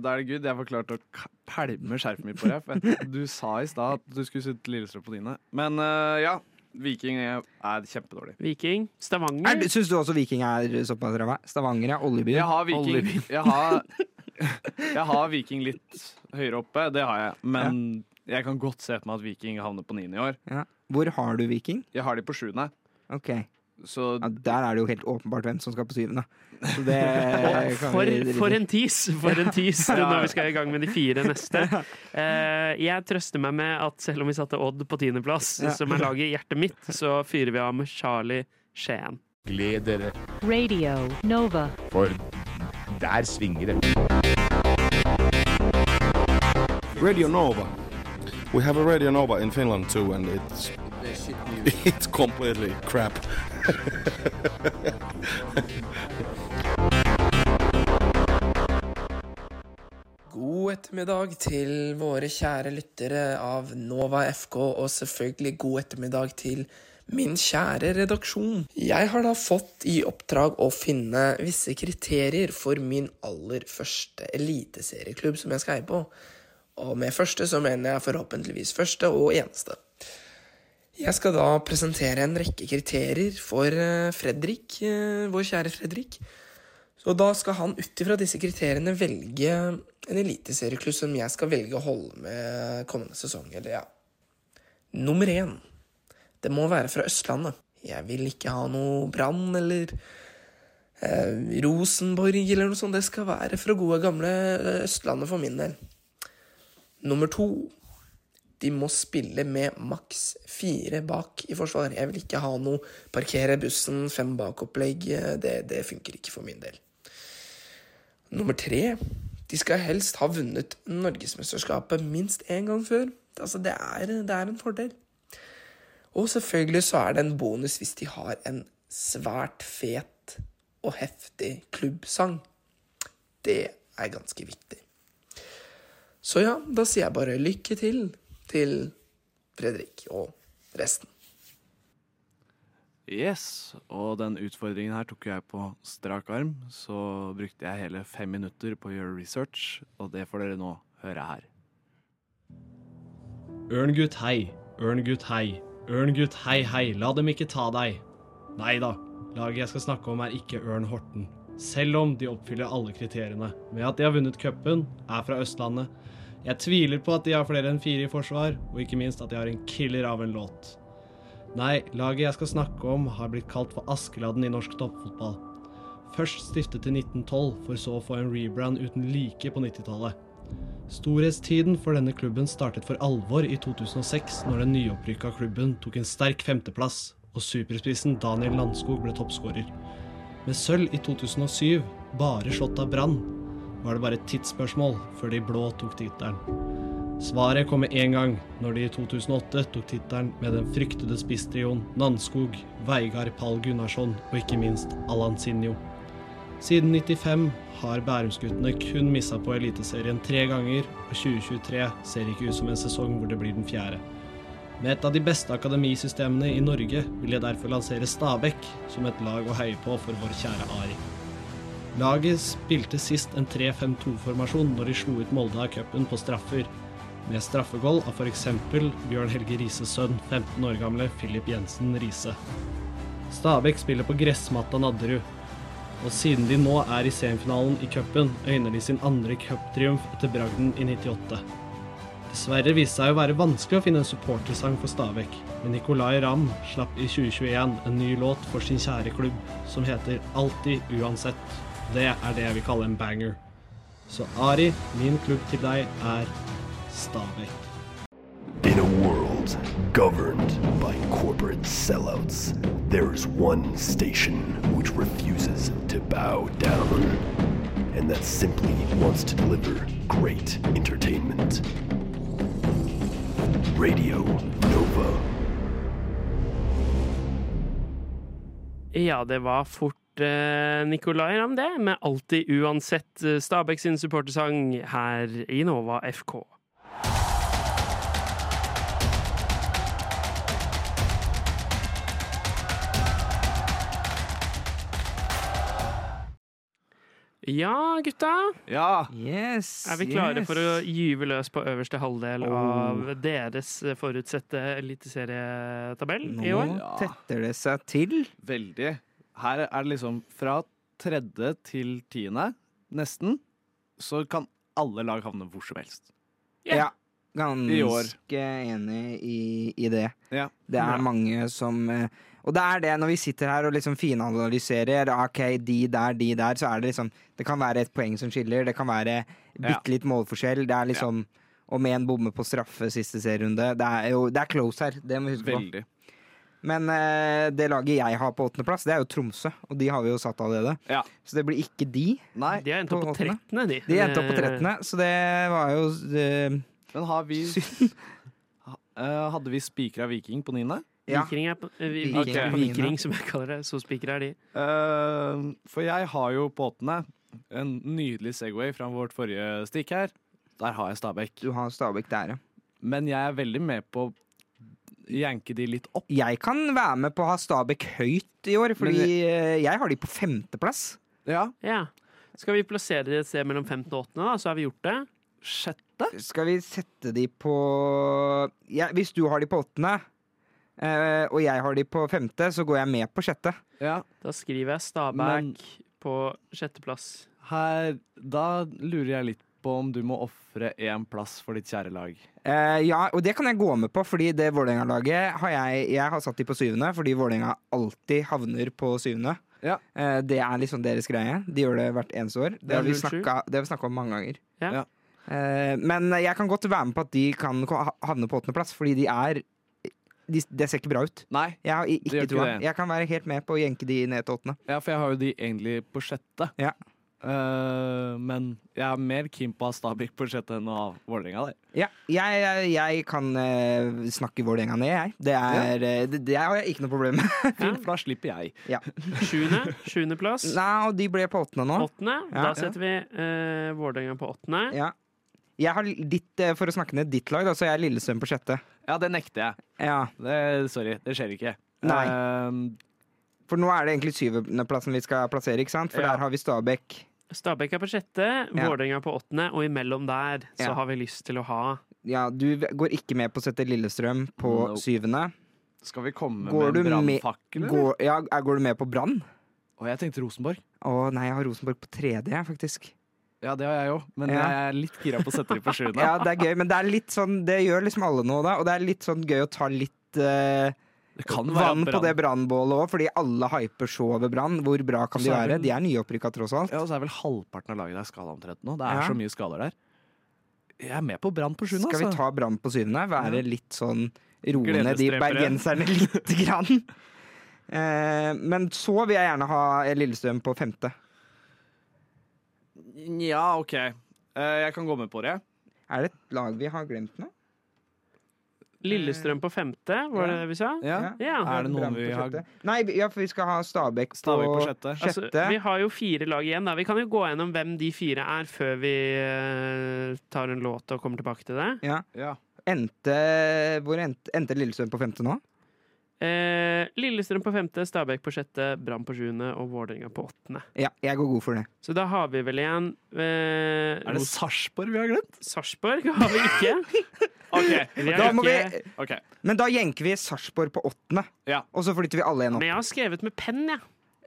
Speaker 3: da er det good. Jeg får klart å k- pælme skjerfet mitt på deg. For jeg- du sa i stad at du skulle sitte Lillestrøm på tiende. Men eh, ja, Viking er er kjempedårlig.
Speaker 1: Viking.
Speaker 2: Er det-
Speaker 1: Stavanger.
Speaker 2: Syns du også Viking er såpass ræva? Stavanger, ja. Oljeby.
Speaker 3: Jeg har Viking
Speaker 1: Oliver.
Speaker 3: jeg har, jeg har Viking litt høyere oppe, det har jeg. Men jeg kan godt se for meg at Viking havner på niende i år.
Speaker 2: Ja. Hvor har du Viking?
Speaker 3: Jeg har de på sjuende,
Speaker 2: Ok,
Speaker 3: så
Speaker 2: ja, Der er det jo helt åpenbart hvem som skal på syvende. Så det
Speaker 1: Og
Speaker 2: Eh, kan
Speaker 1: for,
Speaker 2: vi drite i.
Speaker 1: for en tease! For en tease
Speaker 3: Ja.
Speaker 1: når vi skal i gang med de fire neste. Eh, jeg trøster meg med at selv om vi satte Odd på tiendeplass,
Speaker 2: Ja.
Speaker 1: som er laget i hjertet mitt, så fyrer vi av med Charlie Skien.
Speaker 6: Gled dere,
Speaker 7: Radio Nova.
Speaker 6: for der svinger det.
Speaker 8: Radio Nova. We have a Radio Nova in Finland too, and it's It's completely crap.
Speaker 9: God ettermiddag til våre kjære lyttere av Nova FK, og selvfølgelig god ettermiddag til min kjære redaksjon. Jeg har da fått i oppdrag å finne visse kriterier for min aller første eliteserieklubb som jeg skal eie på. Og med første så mener jeg forhåpentligvis første og eneste. Jeg skal da presentere en rekke kriterier for eh, Fredrik, eh, vår kjære Fredrik. Så da skal han ut ifra disse kriteriene velge en eliteserieklubb som jeg skal velge å holde med kommende sesong. Eller ja. Nummer én. Det må være fra Østlandet. Jeg vil ikke ha noe Brann eller eh, Rosenborg eller noe sånt. Det skal være fra gode, gamle eh, Østlandet for min del. Nummer to. De må spille med maks fire bak i forsvar. Jeg vil ikke ha noe parkere bussen, fem bak-opplegg. Eh, Det, det funker ikke for min del. Nummer tre. De skal helst ha vunnet Norgesmesterskapet minst én gang før. Altså, det er, det er en fordel. Og selvfølgelig så er det en bonus hvis de har en svært fet og heftig klubbsang. Det er ganske viktig. Så ja, da sier jeg bare lykke til til Fredrik og resten.
Speaker 3: Yes, og den utfordringen her tok jeg på strak arm, så brukte jeg hele fem minutter på å gjøre research, og det får dere nå høre her.
Speaker 10: Ørngutt hei, ørngutt hei, ørngutt hei hei, la dem ikke ta deg. Nei da, laget jeg skal snakke om er ikke Ørn Horten. Selv om de oppfyller alle kriteriene. Med at de har vunnet cupen, er fra Østlandet. Jeg tviler på at de har flere enn fire i forsvar, og ikke minst at de har en killer av en låt. Nei, laget jeg skal snakke om har blitt kalt for Askeladden i norsk toppfotball. Først stiftet i 1912, for så å få en rebrand uten like på 90-tallet. Storhetstiden for denne klubben startet for alvor i 2006, når den nyopprykka klubben tok en sterk femteplass, og superspissen Daniel Landskog ble toppskårer. Med sølv i 2007, bare slått av Brann, var det bare et tidsspørsmål før de blå tok tittelen. Svaret kom med én gang, når de i 2008 tok tittelen med den fryktede spisstrioen Nannskog, Veigard Pall Gunnarsson og ikke minst Allan Sinjo. Siden 95 har Bærumsguttene kun missa på Eliteserien tre ganger, og 2023 ser ikke ut som en sesong hvor det blir den fjerde. Med et av de beste akademisystemene i Norge vil jeg derfor lansere Stabæk som et lag å heie på for vår kjære Ari. Laget spilte sist en 3-5-2-formasjon når de slo ut Molde av cupen på straffer, med straffegoal av f.eks. Bjørn Helge Rises sønn, 15 år gamle Philip Jensen Riise. Stabæk spiller på gressmatta Nadderud, og siden de nå er i semifinalen i cupen, øyner de sin andre cuptriumf etter bragden i 98. Dessverre viste det seg å være vanskelig å finne en supportersang for Stabæk, men Nicolay Ramm slapp i 2021 en ny låt for sin kjære klubb, som heter Alltid uansett. Det er det jeg vil kalle en banger. Så Ari, min klubb til deg er Stabæk.
Speaker 8: In a world governed by corporate sellouts, there is one station which refuses to bow down, and that simply wants to deliver great entertainment. Radio Nova.
Speaker 1: Ja, det var fort eh, Nicolay Ramm, det, med alltid uansett eh, Stabæk sin supportersang her i Nova FK. Ja, gutta.
Speaker 3: Ja!
Speaker 2: Yes,
Speaker 1: Er vi klare
Speaker 2: yes.
Speaker 1: for å gyve løs på øverste halvdel av deres eh, forutsette eliteserietabell i år?
Speaker 2: Nå tetter det seg til.
Speaker 3: Veldig. Her er det liksom fra tredje til tiende, nesten, så kan alle lag havne hvor som helst.
Speaker 1: Ja.
Speaker 2: Ja.
Speaker 3: I år.
Speaker 2: Ganske enig i, i det.
Speaker 3: Ja.
Speaker 2: Det er mange som eh, Og det er det når vi sitter her og liksom finanalyserer. Ok, de der, de der. Så er det liksom Det kan være et poeng som skiller. Det kan være bitte litt målforskjell. Det er liksom Og med en bomme på straffe siste serierunde. Det er jo det er close her. Det må vi huske på.
Speaker 3: Veldig.
Speaker 2: Men eh, det laget jeg har på åttendeplass, det er jo Tromsø. Og de har vi jo satt allerede.
Speaker 3: Ja.
Speaker 2: Så det blir ikke de.
Speaker 3: Nei,
Speaker 1: De har endt opp
Speaker 2: på
Speaker 1: på 13., de.
Speaker 2: De endte opp på
Speaker 1: Eh,
Speaker 2: 13., så det var jo eh,
Speaker 3: men har vi
Speaker 2: synd.
Speaker 3: Eh, Hadde vi spikra Viking på niende?
Speaker 2: Ja.
Speaker 1: Vikring, er, på- eh, vi-
Speaker 2: Viking
Speaker 1: Viking,
Speaker 2: er på mine.
Speaker 1: Vikring, som jeg kaller det. Sospikere er de.
Speaker 3: Eh, for jeg har jo på åttende en nydelig Segway fra vårt forrige stikk her. Der har jeg Stabæk.
Speaker 2: Du har Stabæk der, ja.
Speaker 3: Men jeg er veldig med på å janke de litt opp.
Speaker 2: Jeg kan være med på å ha Stabæk høyt i år, fordi
Speaker 3: Men
Speaker 2: eh, jeg har de på femteplass.
Speaker 3: Ja,
Speaker 1: Ja. Skal vi plassere de et sted mellom 15 og 8, da, så har vi gjort det?
Speaker 3: sjette?
Speaker 2: Skal vi sette de på ja, Hvis du har de på åttende, eh, og jeg har de på femte, så går jeg med på sjette.
Speaker 3: Ja.
Speaker 1: Da skriver jeg Stabæk
Speaker 3: Men-
Speaker 1: på sjetteplass.
Speaker 3: Her, da lurer jeg litt på om du må ofre én plass for ditt kjære lag.
Speaker 2: Eh, ja, og det kan jeg gå med på, fordi det Vålerenga-laget har jeg, jeg har satt de på syvende, fordi Vålerenga alltid havner på syvende.
Speaker 3: Ja.
Speaker 2: Eh, det er liksom deres greie. De gjør det hvert eneste år. Det
Speaker 1: er
Speaker 2: har vi
Speaker 1: null sju.
Speaker 2: snakka det har vi snakka om mange ganger.
Speaker 1: Ja.
Speaker 3: Ja.
Speaker 2: Eh, men jeg kan godt være med på at de kan ko- ha- havne på åttendeplass, fordi de er de, Det ser ikke bra ut.
Speaker 3: Nei,
Speaker 2: Jeg har i-
Speaker 3: gjør
Speaker 2: ikke
Speaker 3: ikke
Speaker 2: troa.
Speaker 3: det.
Speaker 2: Jeg kan være helt med på å jenke de ned til åttende.
Speaker 3: ja, for jeg har jo de egentlig på sjette.
Speaker 2: Ja.
Speaker 3: Eh, men jeg er mer keen på å ha Stabæk på sjette enn å ha Vålerenga der.
Speaker 2: Ja, jeg, jeg, jeg kan eh, snakke Vålerenga ned, jeg. Det, er, eh, det, det har jeg ikke noe problem med.
Speaker 3: Fint, for da slipper jeg.
Speaker 1: Sjuende. Sjuendeplass.
Speaker 2: Nei, og de ble på åttende nå.
Speaker 1: Åttende.
Speaker 2: Ja, ja.
Speaker 1: Da setter vi uh, Vålerenga på åttende.
Speaker 2: Ja. Jeg har ditt, eh, for å snakke ned ditt lag, da, så jeg er Lillestrøm på sjette.
Speaker 3: Ja, det nekter jeg.
Speaker 2: Ja,
Speaker 3: Det, sorry, det skjer ikke.
Speaker 2: Nei.
Speaker 3: Eh,
Speaker 2: For nå er det egentlig syvendeplassen vi skal plassere, ikke sant? For
Speaker 3: Ja.
Speaker 2: der har vi Stabæk.
Speaker 1: Stabæk er på sjette,
Speaker 2: Ja.
Speaker 1: Vålerenga på åttende, og imellom der så
Speaker 2: Ja.
Speaker 1: har vi lyst til å ha
Speaker 2: Ja, du går ikke med på å sette Lillestrøm på
Speaker 3: Nope.
Speaker 2: syvende.
Speaker 3: skal vi komme
Speaker 2: Går
Speaker 3: med
Speaker 2: du
Speaker 3: en
Speaker 2: med-
Speaker 3: brannfakkel? eller?
Speaker 2: Går, ja, er- går du med på Brann?
Speaker 3: Og jeg tenkte Rosenborg.
Speaker 2: Å nei, jeg har Rosenborg på tredje, jeg, faktisk.
Speaker 3: Ja, det har jeg òg, men
Speaker 2: Ja.
Speaker 3: jeg er litt gira på å sette dem på sjuende.
Speaker 2: Ja, det er gøy, men det er litt sånn Det gjør liksom alle nå, da. Og det er litt sånn gøy å ta litt eh,
Speaker 3: Det kan være
Speaker 2: vann på
Speaker 3: Brann.
Speaker 2: det brannbålet òg, fordi alle hyper så over Brann. Hvor bra kan de
Speaker 3: Så er
Speaker 2: være?
Speaker 3: vel-
Speaker 2: De er nyopprykka, tross alt.
Speaker 3: Ja, og så er vel halvparten av laget der skada omtrent nå. Det er
Speaker 2: Ja.
Speaker 3: så mye skader der. Jeg er med på Brann på sjuende,
Speaker 2: Skal vi
Speaker 3: altså.
Speaker 2: ta Brann på syvende? Være
Speaker 3: Ja.
Speaker 2: litt sånn roe ned de
Speaker 3: Gledesdrepere.
Speaker 2: bergenserne lite grann. Eh, men så vil jeg gjerne ha Lillestrøm på femte.
Speaker 3: Ja, OK. Eh, Jeg kan gå med på det.
Speaker 2: Er det et lag vi har glemt nå?
Speaker 1: Lillestrøm på femte, var det
Speaker 2: Ja.
Speaker 1: det vi sa?
Speaker 3: Ja.
Speaker 1: Ja.
Speaker 3: Er det noen
Speaker 2: Brann
Speaker 3: vi
Speaker 2: på
Speaker 3: har-
Speaker 2: sjette? Nei, vi- ja, for vi skal ha Stabæk på,
Speaker 3: Stabæk på sjette.
Speaker 1: Altså, vi har jo fire lag igjen. da Vi kan jo gå gjennom hvem de fire er, før vi eh, tar en låt og kommer tilbake til det.
Speaker 2: Ja.
Speaker 3: Ja.
Speaker 2: Endte, hvor endte, endte Lillestrøm på femte nå?
Speaker 1: Eh, Lillestrøm på femte, Stabæk på sjette, Brann på sjuende og Vålerenga på åttende.
Speaker 2: Ja, jeg går god for det.
Speaker 1: Så da har vi vel igjen eh,
Speaker 3: Er det
Speaker 1: Ros-
Speaker 3: Sarpsborg vi har glemt?
Speaker 1: Sarpsborg har vi ikke.
Speaker 3: OK.
Speaker 1: Vi har
Speaker 2: Da må vi,
Speaker 1: ikke.
Speaker 3: ok.
Speaker 2: men da jenker vi Sarpsborg på åttende,
Speaker 3: Ja.
Speaker 2: og så flytter vi alle igjen opp.
Speaker 1: Men jeg har skrevet med penn, jeg.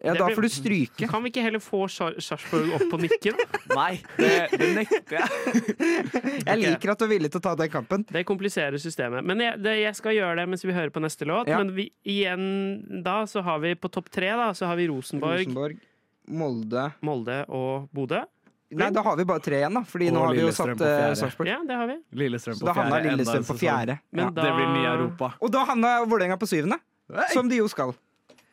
Speaker 2: Ja,
Speaker 1: det
Speaker 2: da
Speaker 1: blir-
Speaker 2: får du stryke.
Speaker 1: Kan vi ikke heller få Sar- Sarpsborg opp på nikken?
Speaker 3: Nei, det, det nekter jeg.
Speaker 2: Jeg liker at du er villig til å ta den kampen.
Speaker 1: Det kompliserer systemet. Men jeg, det, jeg skal gjøre det mens vi hører på neste låt.
Speaker 2: Ja.
Speaker 1: Men vi, igjen da så har vi på topp tre da, så har vi Rosenborg,
Speaker 2: Rosenborg, Molde
Speaker 1: Molde og Bodø.
Speaker 2: Nei, da har vi bare tre igjen, da. Fordi
Speaker 3: Og
Speaker 2: nå har vi jo
Speaker 3: Lillestrøm
Speaker 2: satt
Speaker 3: på
Speaker 2: eh,
Speaker 3: fjerde.
Speaker 2: Sarpsborg.
Speaker 1: Ja, det har vi.
Speaker 3: Lillestrøm
Speaker 2: Så da havna Lillestrøm på fjerde.
Speaker 1: Men
Speaker 2: Ja.
Speaker 1: da,
Speaker 3: Det blir ny Europa.
Speaker 2: Og da havna Vålerenga på syvende, som de jo skal.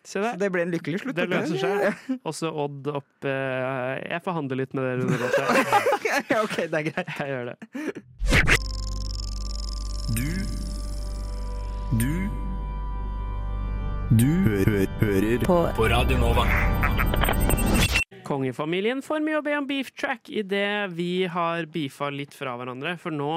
Speaker 1: Se
Speaker 2: Så
Speaker 1: der.
Speaker 2: det ble en lykkelig slutt.
Speaker 1: Det
Speaker 2: dette.
Speaker 1: løser seg. Også Odd opp eh, Jeg forhandler litt med dere under låta.
Speaker 2: Ja, ok, det er greit.
Speaker 1: Jeg gjør det.
Speaker 8: Du Du Du hø hø hører på. på Radio Nova.
Speaker 1: Kongefamilien får mye å be om beef track idet vi har beefa litt fra hverandre. For nå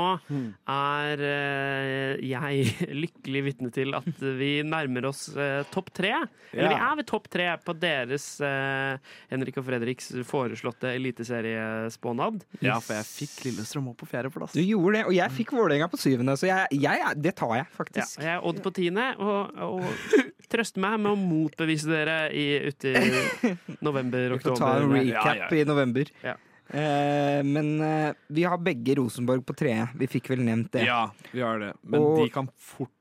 Speaker 1: er eh, jeg lykkelig vitne til at vi nærmer oss eh, topp tre. Eller vi er ved topp tre på deres eh, Henrik og Fredriks foreslåtte eliteseriespånad.
Speaker 3: Ja, for jeg fikk Lillestrøm opp på fjerdeplass.
Speaker 2: Du gjorde det, og jeg fikk Vålerenga på syvende, så jeg, jeg, er- det tar jeg
Speaker 1: Ja,
Speaker 2: faktisk.
Speaker 1: jeg er Odd på tiende, og, og trøster meg med å motbevise dere i, ute i november,
Speaker 2: Vi får ta en
Speaker 1: oktober.
Speaker 2: recap
Speaker 3: Ja,
Speaker 2: i november.
Speaker 1: Ja.
Speaker 2: Eh, men eh, vi har begge Rosenborg på tre. Vi fikk vel nevnt det.
Speaker 3: Ja, vi har det. Men
Speaker 2: Og-
Speaker 3: de kan fort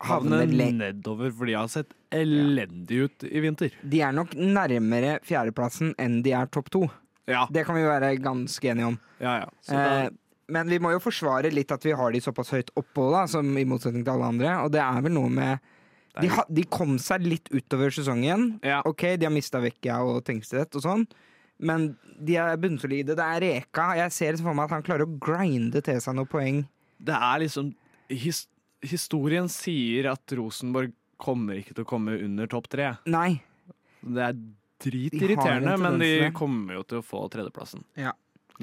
Speaker 3: havne
Speaker 2: Havne le-
Speaker 3: nedover, for de har sett elendig ut i vinter.
Speaker 2: De er nok nærmere fjerdeplassen enn de er topp to.
Speaker 3: Ja,
Speaker 2: Det kan vi være ganske enige om.
Speaker 3: ja, ja.
Speaker 1: Så da-
Speaker 2: Eh, men vi må jo forsvare litt at vi har de såpass høyt oppå, da, som i motsetning til alle andre. Og det er vel noe med De, ha, de kom seg litt utover sesongen.
Speaker 3: Ja.
Speaker 2: Ok, de har mista Vecchia og Tengstedt og sånn, men de er bunnsolide. Det er Reka. Jeg ser liksom for meg at han klarer å grinde til seg noen poeng.
Speaker 3: Det er liksom his Historien sier at Rosenborg kommer ikke til å komme under topp tre.
Speaker 2: Nei.
Speaker 3: Det er
Speaker 2: De
Speaker 3: dritirriterende,
Speaker 2: har den
Speaker 3: men de
Speaker 2: tendensen, ja.
Speaker 3: kommer jo til å få tredjeplassen.
Speaker 2: Ja.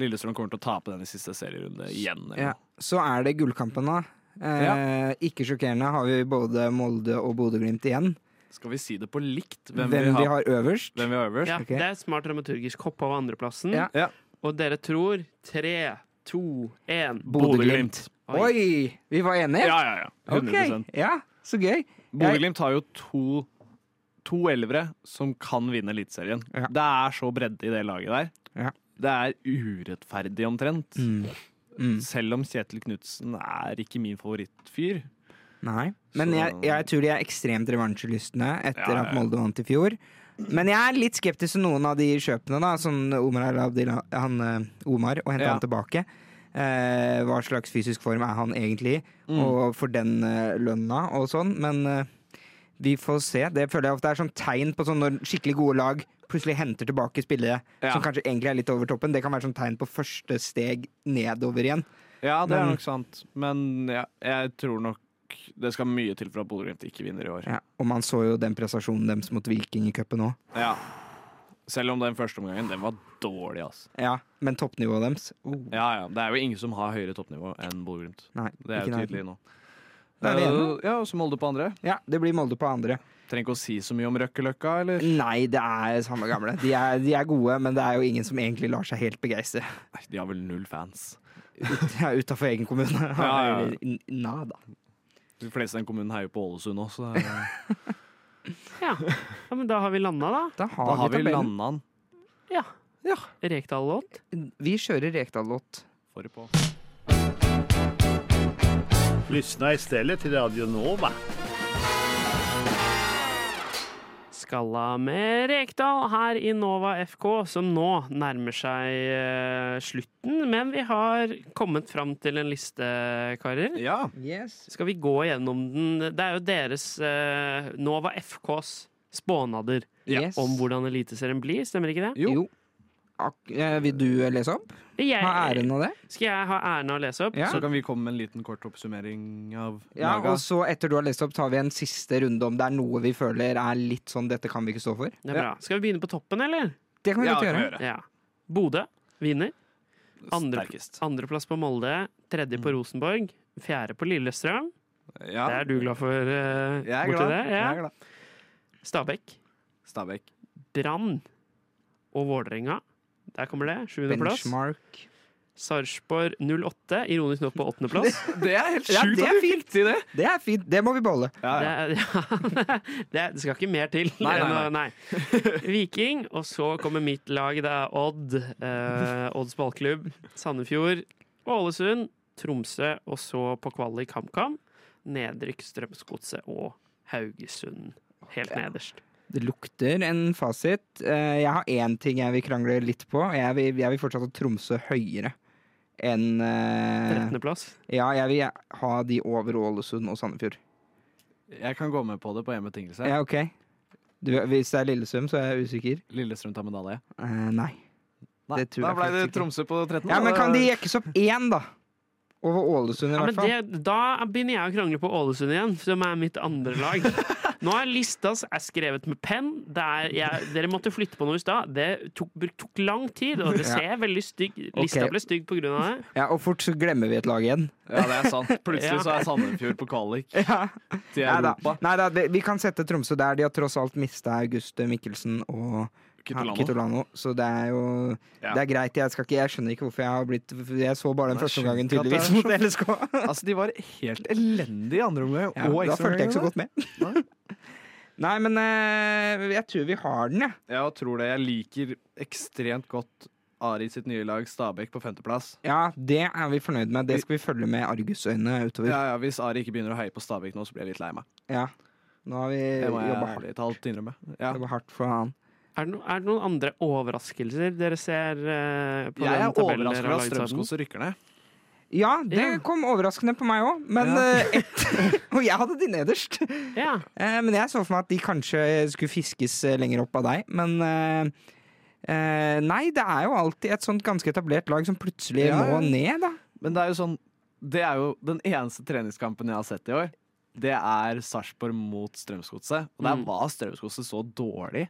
Speaker 3: Lillestrøm kommer til å tape den i siste serierunde igjen. eller
Speaker 2: Ja. Så er det gullkampen, da. Eh, Ikke sjokkerende har vi både Molde og Bodø-Glimt igjen.
Speaker 3: noe. Skal vi si det på likt?
Speaker 2: Hvem, vi, har. øverst?
Speaker 3: Hvem vi har øverst?
Speaker 1: Ja, Det er smart dramaturgisk. Hopp over andreplassen.
Speaker 2: Ja.
Speaker 3: Ja.
Speaker 1: Og dere tror tre, to, én
Speaker 3: Bodø-Glimt.
Speaker 2: Oi. Vi var enige?
Speaker 3: Ja, ja, ja. 100%.
Speaker 2: Ok, ja, Så gøy.
Speaker 3: Bodø-Glimt har jo to, to elvere som kan vinne Eliteserien. Det er så bredde i det laget der.
Speaker 2: Ja.
Speaker 3: Det er urettferdig omtrent.
Speaker 2: Mm. Mm.
Speaker 3: Selv om Kjetil Knutsen er ikke min favorittfyr.
Speaker 2: Nei. Men
Speaker 3: Så-
Speaker 2: jeg, jeg tror de er ekstremt revansjelystne etter
Speaker 3: Ja, ja, ja.
Speaker 2: at Molde vant i fjor. Men jeg er litt skeptisk til noen av de kjøpene, da, som Omar El Abdil, han, eh, Omar, og hente
Speaker 3: Ja.
Speaker 2: han tilbake. Eh, hva slags fysisk form er han egentlig i,
Speaker 3: Mm.
Speaker 2: og for den eh, lønna og sånn. Men eh, vi får se. Det føler jeg ofte er sånn tegn på sånn når skikkelig gode lag plutselig henter tilbake spillere
Speaker 3: Ja.
Speaker 2: som kanskje egentlig er litt over toppen. Det kan være sånn tegn på første steg nedover igjen.
Speaker 3: Ja, det er
Speaker 2: Men-
Speaker 3: nok sant, men ja, jeg tror nok det skal mye til for at Bodø-Glimt ikke vinner i år.
Speaker 2: Ja. Og man så jo den prestasjonen deres mot Viking i cupen òg.
Speaker 3: Ja. Selv om den første omgangen, den var dårlig, altså.
Speaker 2: Ja, men toppnivået deres Oh,
Speaker 3: Ja, ja. Det er jo ingen som har høyere toppnivå enn Bodø-Glimt.
Speaker 2: Nei,
Speaker 3: Det er
Speaker 2: ikke
Speaker 3: jo
Speaker 2: nærheten.
Speaker 3: tydelig nå.
Speaker 2: Da er vi enige.
Speaker 3: Eh, ja, og så Molde på andre.
Speaker 2: Ja, det blir Molde på andre.
Speaker 3: Trenger ikke å si så mye om Røkkeløkka, eller?
Speaker 2: Nei, det er samme gamle. De er, de er gode, men det er jo ingen som egentlig lar seg helt begeistre.
Speaker 3: Nei, de har vel null fans.
Speaker 2: De er utafor egen kommune.
Speaker 3: Ja, ja, ja.
Speaker 2: N- Nada.
Speaker 3: De fleste i den kommunen heier på Ålesund òg, så det er-
Speaker 1: Ja. ja, men da har vi landa, da.
Speaker 2: Da har,
Speaker 3: da har vi
Speaker 2: vi tabellen.
Speaker 3: landa den.
Speaker 1: Ja.
Speaker 2: Ja.
Speaker 1: Rekdal-låt.
Speaker 2: Vi kjører Rekdal-låt.
Speaker 3: Forrige på.
Speaker 11: Lyssna istället till Radio Nova.
Speaker 1: Skalla med Rekdal her i Nova FK, som nå nærmer seg eh, slutten. Men vi har kommet fram til en liste, karer.
Speaker 3: Ja.
Speaker 2: Yes.
Speaker 1: Skal vi gå gjennom den? Det er jo deres eh, Nova FKs spånader
Speaker 2: Yes.
Speaker 1: om hvordan Eliteserien blir, stemmer ikke det?
Speaker 3: Jo.
Speaker 2: Jo. Ak eh, vil du lese opp? Ha
Speaker 1: Jeg,
Speaker 2: æren av det?
Speaker 1: skal jeg ha æren av å lese opp?
Speaker 2: Ja.
Speaker 3: Så kan vi komme med en liten kort oppsummering av
Speaker 2: Ja,
Speaker 3: Naga.
Speaker 2: og så etter du har lest opp, tar vi en siste runde om det er noe vi føler er litt sånn 'dette kan vi ikke stå for'.
Speaker 1: Det er bra. Skal vi begynne på toppen, eller?
Speaker 2: Det kan vi
Speaker 3: Ja,
Speaker 2: godt
Speaker 3: det kan
Speaker 2: gjøre.
Speaker 3: vi gjøre.
Speaker 1: Ja. Bodø vinner. Andre-
Speaker 3: Sterkest.
Speaker 1: Andreplass på Molde. Tredje på Rosenborg. Fjerde på Lillestrøm.
Speaker 3: Mm. Ja.
Speaker 1: Det er du glad for, eh,
Speaker 3: Jeg er
Speaker 1: borti
Speaker 3: glad.
Speaker 1: der.
Speaker 3: Jeg
Speaker 1: Ja.
Speaker 3: er glad.
Speaker 1: Stabæk.
Speaker 3: Stabæk.
Speaker 1: Brann og Vålerenga. Der kommer det. Sjuendeplass.
Speaker 2: Benchmark.
Speaker 1: Sarpsborg 08, ironisk nok på åttendeplass.
Speaker 3: Det er helt
Speaker 2: Ja,
Speaker 3: sjukt
Speaker 2: det
Speaker 3: at
Speaker 2: er
Speaker 3: du fikk til det!
Speaker 2: Det er fint. Det må vi beholde.
Speaker 3: Ah, Ja,
Speaker 1: Det, er-
Speaker 3: ja.
Speaker 1: ja, det, er- det skal ikke mer til.
Speaker 3: Nei, nei,
Speaker 1: enn å- nei. Viking, og så kommer mitt lag. Det er Odd. Eh, Odds ballklubb. Sandefjord. Ålesund. Tromsø. Og så på kvalik HamKam. Nedrykk Strømsgodset og Haugesund. Helt nederst.
Speaker 2: Det lukter en fasit. Eh, Jeg har én ting jeg vil krangle litt på. og Jeg vil, jeg vil fortsatt ha Tromsø høyere enn eh,
Speaker 1: Trettendeplass.
Speaker 2: Ja, jeg vil ha de over Ålesund og Sandefjord.
Speaker 3: Jeg kan gå med på det på én betingelse.
Speaker 2: Ja, OK. Du, hvis det er Lillesund, så er jeg usikker.
Speaker 3: Lillestrøm tar medalje.
Speaker 2: Eh, nei.
Speaker 3: Nei,
Speaker 2: Det tror
Speaker 3: da
Speaker 2: jeg
Speaker 3: ble det
Speaker 2: faktisk ikke.
Speaker 3: Tromsø på 13.
Speaker 2: Ja,
Speaker 3: da.
Speaker 2: Men kan de jekkes opp én, da? Over Ålesund, i
Speaker 1: Ja, men
Speaker 2: hvert fall.
Speaker 1: det, da begynner jeg å krangle på Ålesund igjen, som er mitt andre lag. Nå er lista s- er skrevet med penn. Det er- jeg- Dere måtte flytte på noe i stad. Det tok, bruk- tok lang tid, og det
Speaker 2: Ja.
Speaker 1: ser veldig stygg Lista
Speaker 2: Ok.
Speaker 1: ble stygg på grunn av det.
Speaker 2: Ja, og fort så glemmer vi et lag igjen.
Speaker 3: Ja, det er sant.
Speaker 1: Ja.
Speaker 3: Plutselig så er Sandefjord på kvalik
Speaker 2: Ja.
Speaker 3: til
Speaker 2: Neida.
Speaker 3: Europa.
Speaker 2: Neida, vi- vi kan sette Tromsø der. De har tross alt mista August Mikkelsen og
Speaker 3: Kitolano.
Speaker 2: Kitolano, så det er jo
Speaker 3: Ja.
Speaker 2: Det er greit. Jeg, skal ikke, jeg skjønner ikke hvorfor jeg har blitt Jeg så bare den
Speaker 3: Nei,
Speaker 2: første
Speaker 3: skjønner
Speaker 2: omgangen,
Speaker 3: ikke at
Speaker 2: tydeligvis, mot
Speaker 3: det
Speaker 2: LSK.
Speaker 3: Altså, de var helt elendige i andre omgang.
Speaker 2: Ja,
Speaker 3: og
Speaker 2: da
Speaker 3: ekstra
Speaker 2: fulgte jeg ikke så
Speaker 3: omgang.
Speaker 2: godt med. Nei, men eh, jeg tror vi har den, jeg.
Speaker 3: Jeg tror det. Jeg liker ekstremt godt Ari sitt nye lag, Stabæk, på femteplass.
Speaker 2: Ja. det er vi fornøyd med. Det skal vi følge med argusøyne utover. Ja.
Speaker 3: Ja, ja, hvis Ari ikke begynner å heie på Stabæk nå, så blir jeg litt lei meg.
Speaker 2: Nå har vi
Speaker 3: Det må jeg
Speaker 2: jobba hardt.
Speaker 3: ærlig talt innrømme. Ja.
Speaker 2: Jobba hardt for han.
Speaker 1: Er det, no, er det noen andre overraskelser dere ser eh, på
Speaker 3: Jeg
Speaker 1: den
Speaker 3: er
Speaker 1: tabellen? dere
Speaker 3: overrasket
Speaker 1: har
Speaker 3: over
Speaker 1: laget
Speaker 3: at
Speaker 1: sammen?
Speaker 3: Strømsgodset rykker ned.
Speaker 2: Ja, det
Speaker 1: Ja.
Speaker 2: kom overraskende på meg òg, men
Speaker 3: Ja.
Speaker 2: eh, et, Og jeg hadde de nederst.
Speaker 1: Ja.
Speaker 2: Eh, men jeg så for meg at de kanskje skulle fiskes eh, lenger opp av deg, men eh, eh, Nei, det er jo alltid et sånt ganske etablert lag som plutselig
Speaker 3: Ja, ja.
Speaker 2: må ned, da.
Speaker 3: Men det er jo sånn Det er jo den eneste treningskampen jeg har sett i år. det er Sarpsborg mot Strømsgodset. Og der
Speaker 1: Mm.
Speaker 3: var Strømsgodset så dårlig.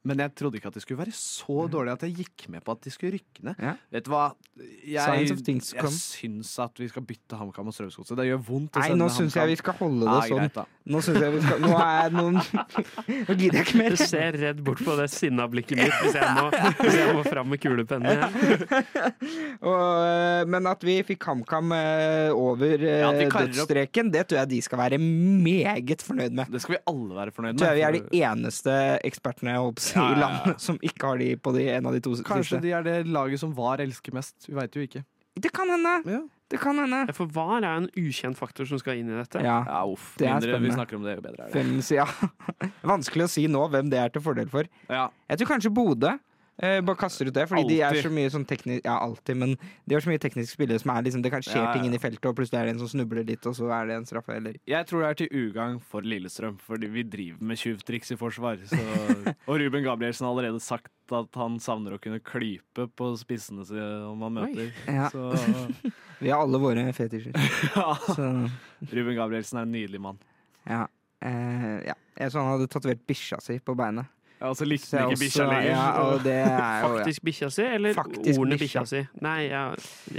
Speaker 3: Men jeg trodde ikke at de skulle være så dårlige at jeg gikk med på at de skulle rykke ned. Vet du hva?
Speaker 2: Signs
Speaker 3: Jeg,
Speaker 2: of things to
Speaker 3: jeg
Speaker 2: come.
Speaker 3: syns at vi skal bytte HamKam og Strømsgodset. Det gjør vondt å
Speaker 2: Nei,
Speaker 3: sende
Speaker 2: nå
Speaker 3: sånn
Speaker 2: syns jeg
Speaker 3: HamKam.
Speaker 2: vi skal holde det
Speaker 3: Ja, greit, da.
Speaker 2: sånn. Nå syns jeg vi skal Nå er jeg noen Nå gidder jeg ikke mer.
Speaker 1: Du ser redd bort på det sinna blikket mitt hvis jeg må, hvis jeg må fram med kulepennen igjen.
Speaker 2: Og, øh, men at vi fikk HamKam øh, over øh,
Speaker 3: Ja, at vi karrer opp.
Speaker 2: dødsstreken, det tror jeg de skal være meget fornøyd med.
Speaker 3: Det skal vi alle være fornøyd med.
Speaker 2: Tror jeg vi er
Speaker 3: for-
Speaker 2: de eneste ekspertene jeg håper, å si,
Speaker 3: Ja, ja,
Speaker 2: i
Speaker 3: ja.
Speaker 2: landet som ikke har de på de en av de to
Speaker 3: Kanskje
Speaker 2: siste.
Speaker 3: de er det laget som VAR elsker mest. Vi veit jo ikke.
Speaker 2: Det kan hende. Det kan hende.
Speaker 1: For hva er en ukjent faktor som skal inn i dette?
Speaker 2: Ja,
Speaker 3: uff.
Speaker 2: det er
Speaker 3: mindre vi
Speaker 2: spennende.
Speaker 3: snakker om det, jo bedre er det.
Speaker 2: Fem, ja. Vanskelig å si nå hvem det er til fordel for.
Speaker 3: Ja.
Speaker 2: Jeg tror kanskje Bodø. eh, bare kaster ut det, fordi de er
Speaker 3: Alltid.
Speaker 2: så mye sånn teknisk Ja, alltid, men de har så mye tekniske spillere som er liksom Det kan skje
Speaker 3: Ja, ja.
Speaker 2: ting inne i feltet, og plutselig er det en som snubler litt, og så er det en straffe, eller
Speaker 3: Jeg tror det er til ugagn for Lillestrøm, fordi vi driver med tjuvtriks i forsvar. Så, og Ruben Gabrielsen har allerede sagt at han savner å kunne klype på spissene sine om han møter.
Speaker 2: Ja.
Speaker 3: Så
Speaker 2: Vi har alle våre fetisjer. Så,
Speaker 3: Ruben Gabrielsen er en nydelig mann.
Speaker 2: ja. Eh, ja. Jeg så han hadde tatovert bikkja si på beinet.
Speaker 3: Ja, og så
Speaker 2: Så
Speaker 3: likte
Speaker 2: jeg
Speaker 3: han ikke bikkja
Speaker 2: også-
Speaker 3: lenger.
Speaker 2: ja, og det er jo, ja.
Speaker 1: Faktisk bikkja si, eller
Speaker 2: Faktisk
Speaker 1: ordene
Speaker 2: bikkja.
Speaker 1: bikkja si? Nei, ja,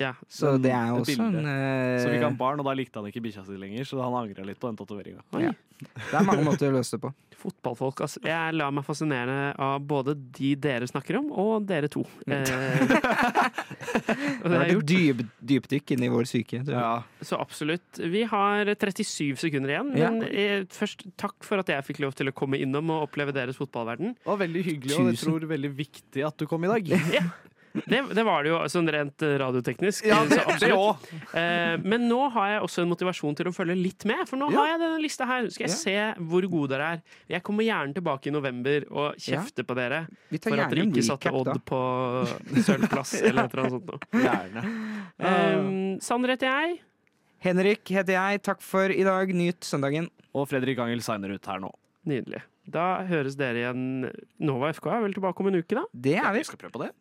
Speaker 1: ja.
Speaker 2: Så det er jo
Speaker 3: Det
Speaker 2: også en eh,
Speaker 3: Så fikk han barn, og da likte han ikke bikkja si lenger, så han angra litt på den tatoveringa.
Speaker 2: ja. Det er mange måter å løse det på.
Speaker 1: Fotballfolk, altså. Jeg lar meg fascinere av både de dere snakker om, og dere to.
Speaker 3: Mm.
Speaker 1: Eh, og
Speaker 2: Det
Speaker 1: det
Speaker 2: har
Speaker 1: er
Speaker 2: vært
Speaker 1: gjort.
Speaker 2: et dyp, dypdykk inni vår psyke. tror jeg.
Speaker 1: Så absolutt. Vi har 37 sekunder igjen,
Speaker 2: Ja.
Speaker 1: men eh, først takk for at jeg fikk lov til å komme innom og oppleve deres fotballverden.
Speaker 3: Det var veldig hyggelig, og jeg
Speaker 1: Tusen.
Speaker 3: tror veldig viktig at du kom i dag.
Speaker 1: Ja. Det, det var det jo sånn rent eh, radioteknisk.
Speaker 3: Ja,
Speaker 1: eh,
Speaker 3: det-
Speaker 1: så absolutt.
Speaker 3: det
Speaker 1: Eh, men nå har jeg også en motivasjon til å følge litt med, for nå
Speaker 3: Ja.
Speaker 1: har jeg denne lista her. Skal jeg se hvor gode dere er. Jeg kommer gjerne tilbake i november og
Speaker 2: Ja.
Speaker 1: kjefte på dere
Speaker 2: Vi tar
Speaker 1: for at
Speaker 2: gjerne
Speaker 1: dere
Speaker 2: en
Speaker 1: ikke satte
Speaker 2: recap, da.
Speaker 1: Odd på sølvplass eller et eller annet sånt noe.
Speaker 3: Gjerne.
Speaker 1: Eh, Sander heter jeg.
Speaker 2: Henrik heter jeg. Takk for i dag. Nyt søndagen.
Speaker 3: Og Fredrik Angel signer ut her nå.
Speaker 1: Nydelig. Da høres dere igjen. Nova FK er vel tilbake om en uke, da?
Speaker 2: Det er
Speaker 3: Vi
Speaker 2: vi.
Speaker 3: skal prøve på det.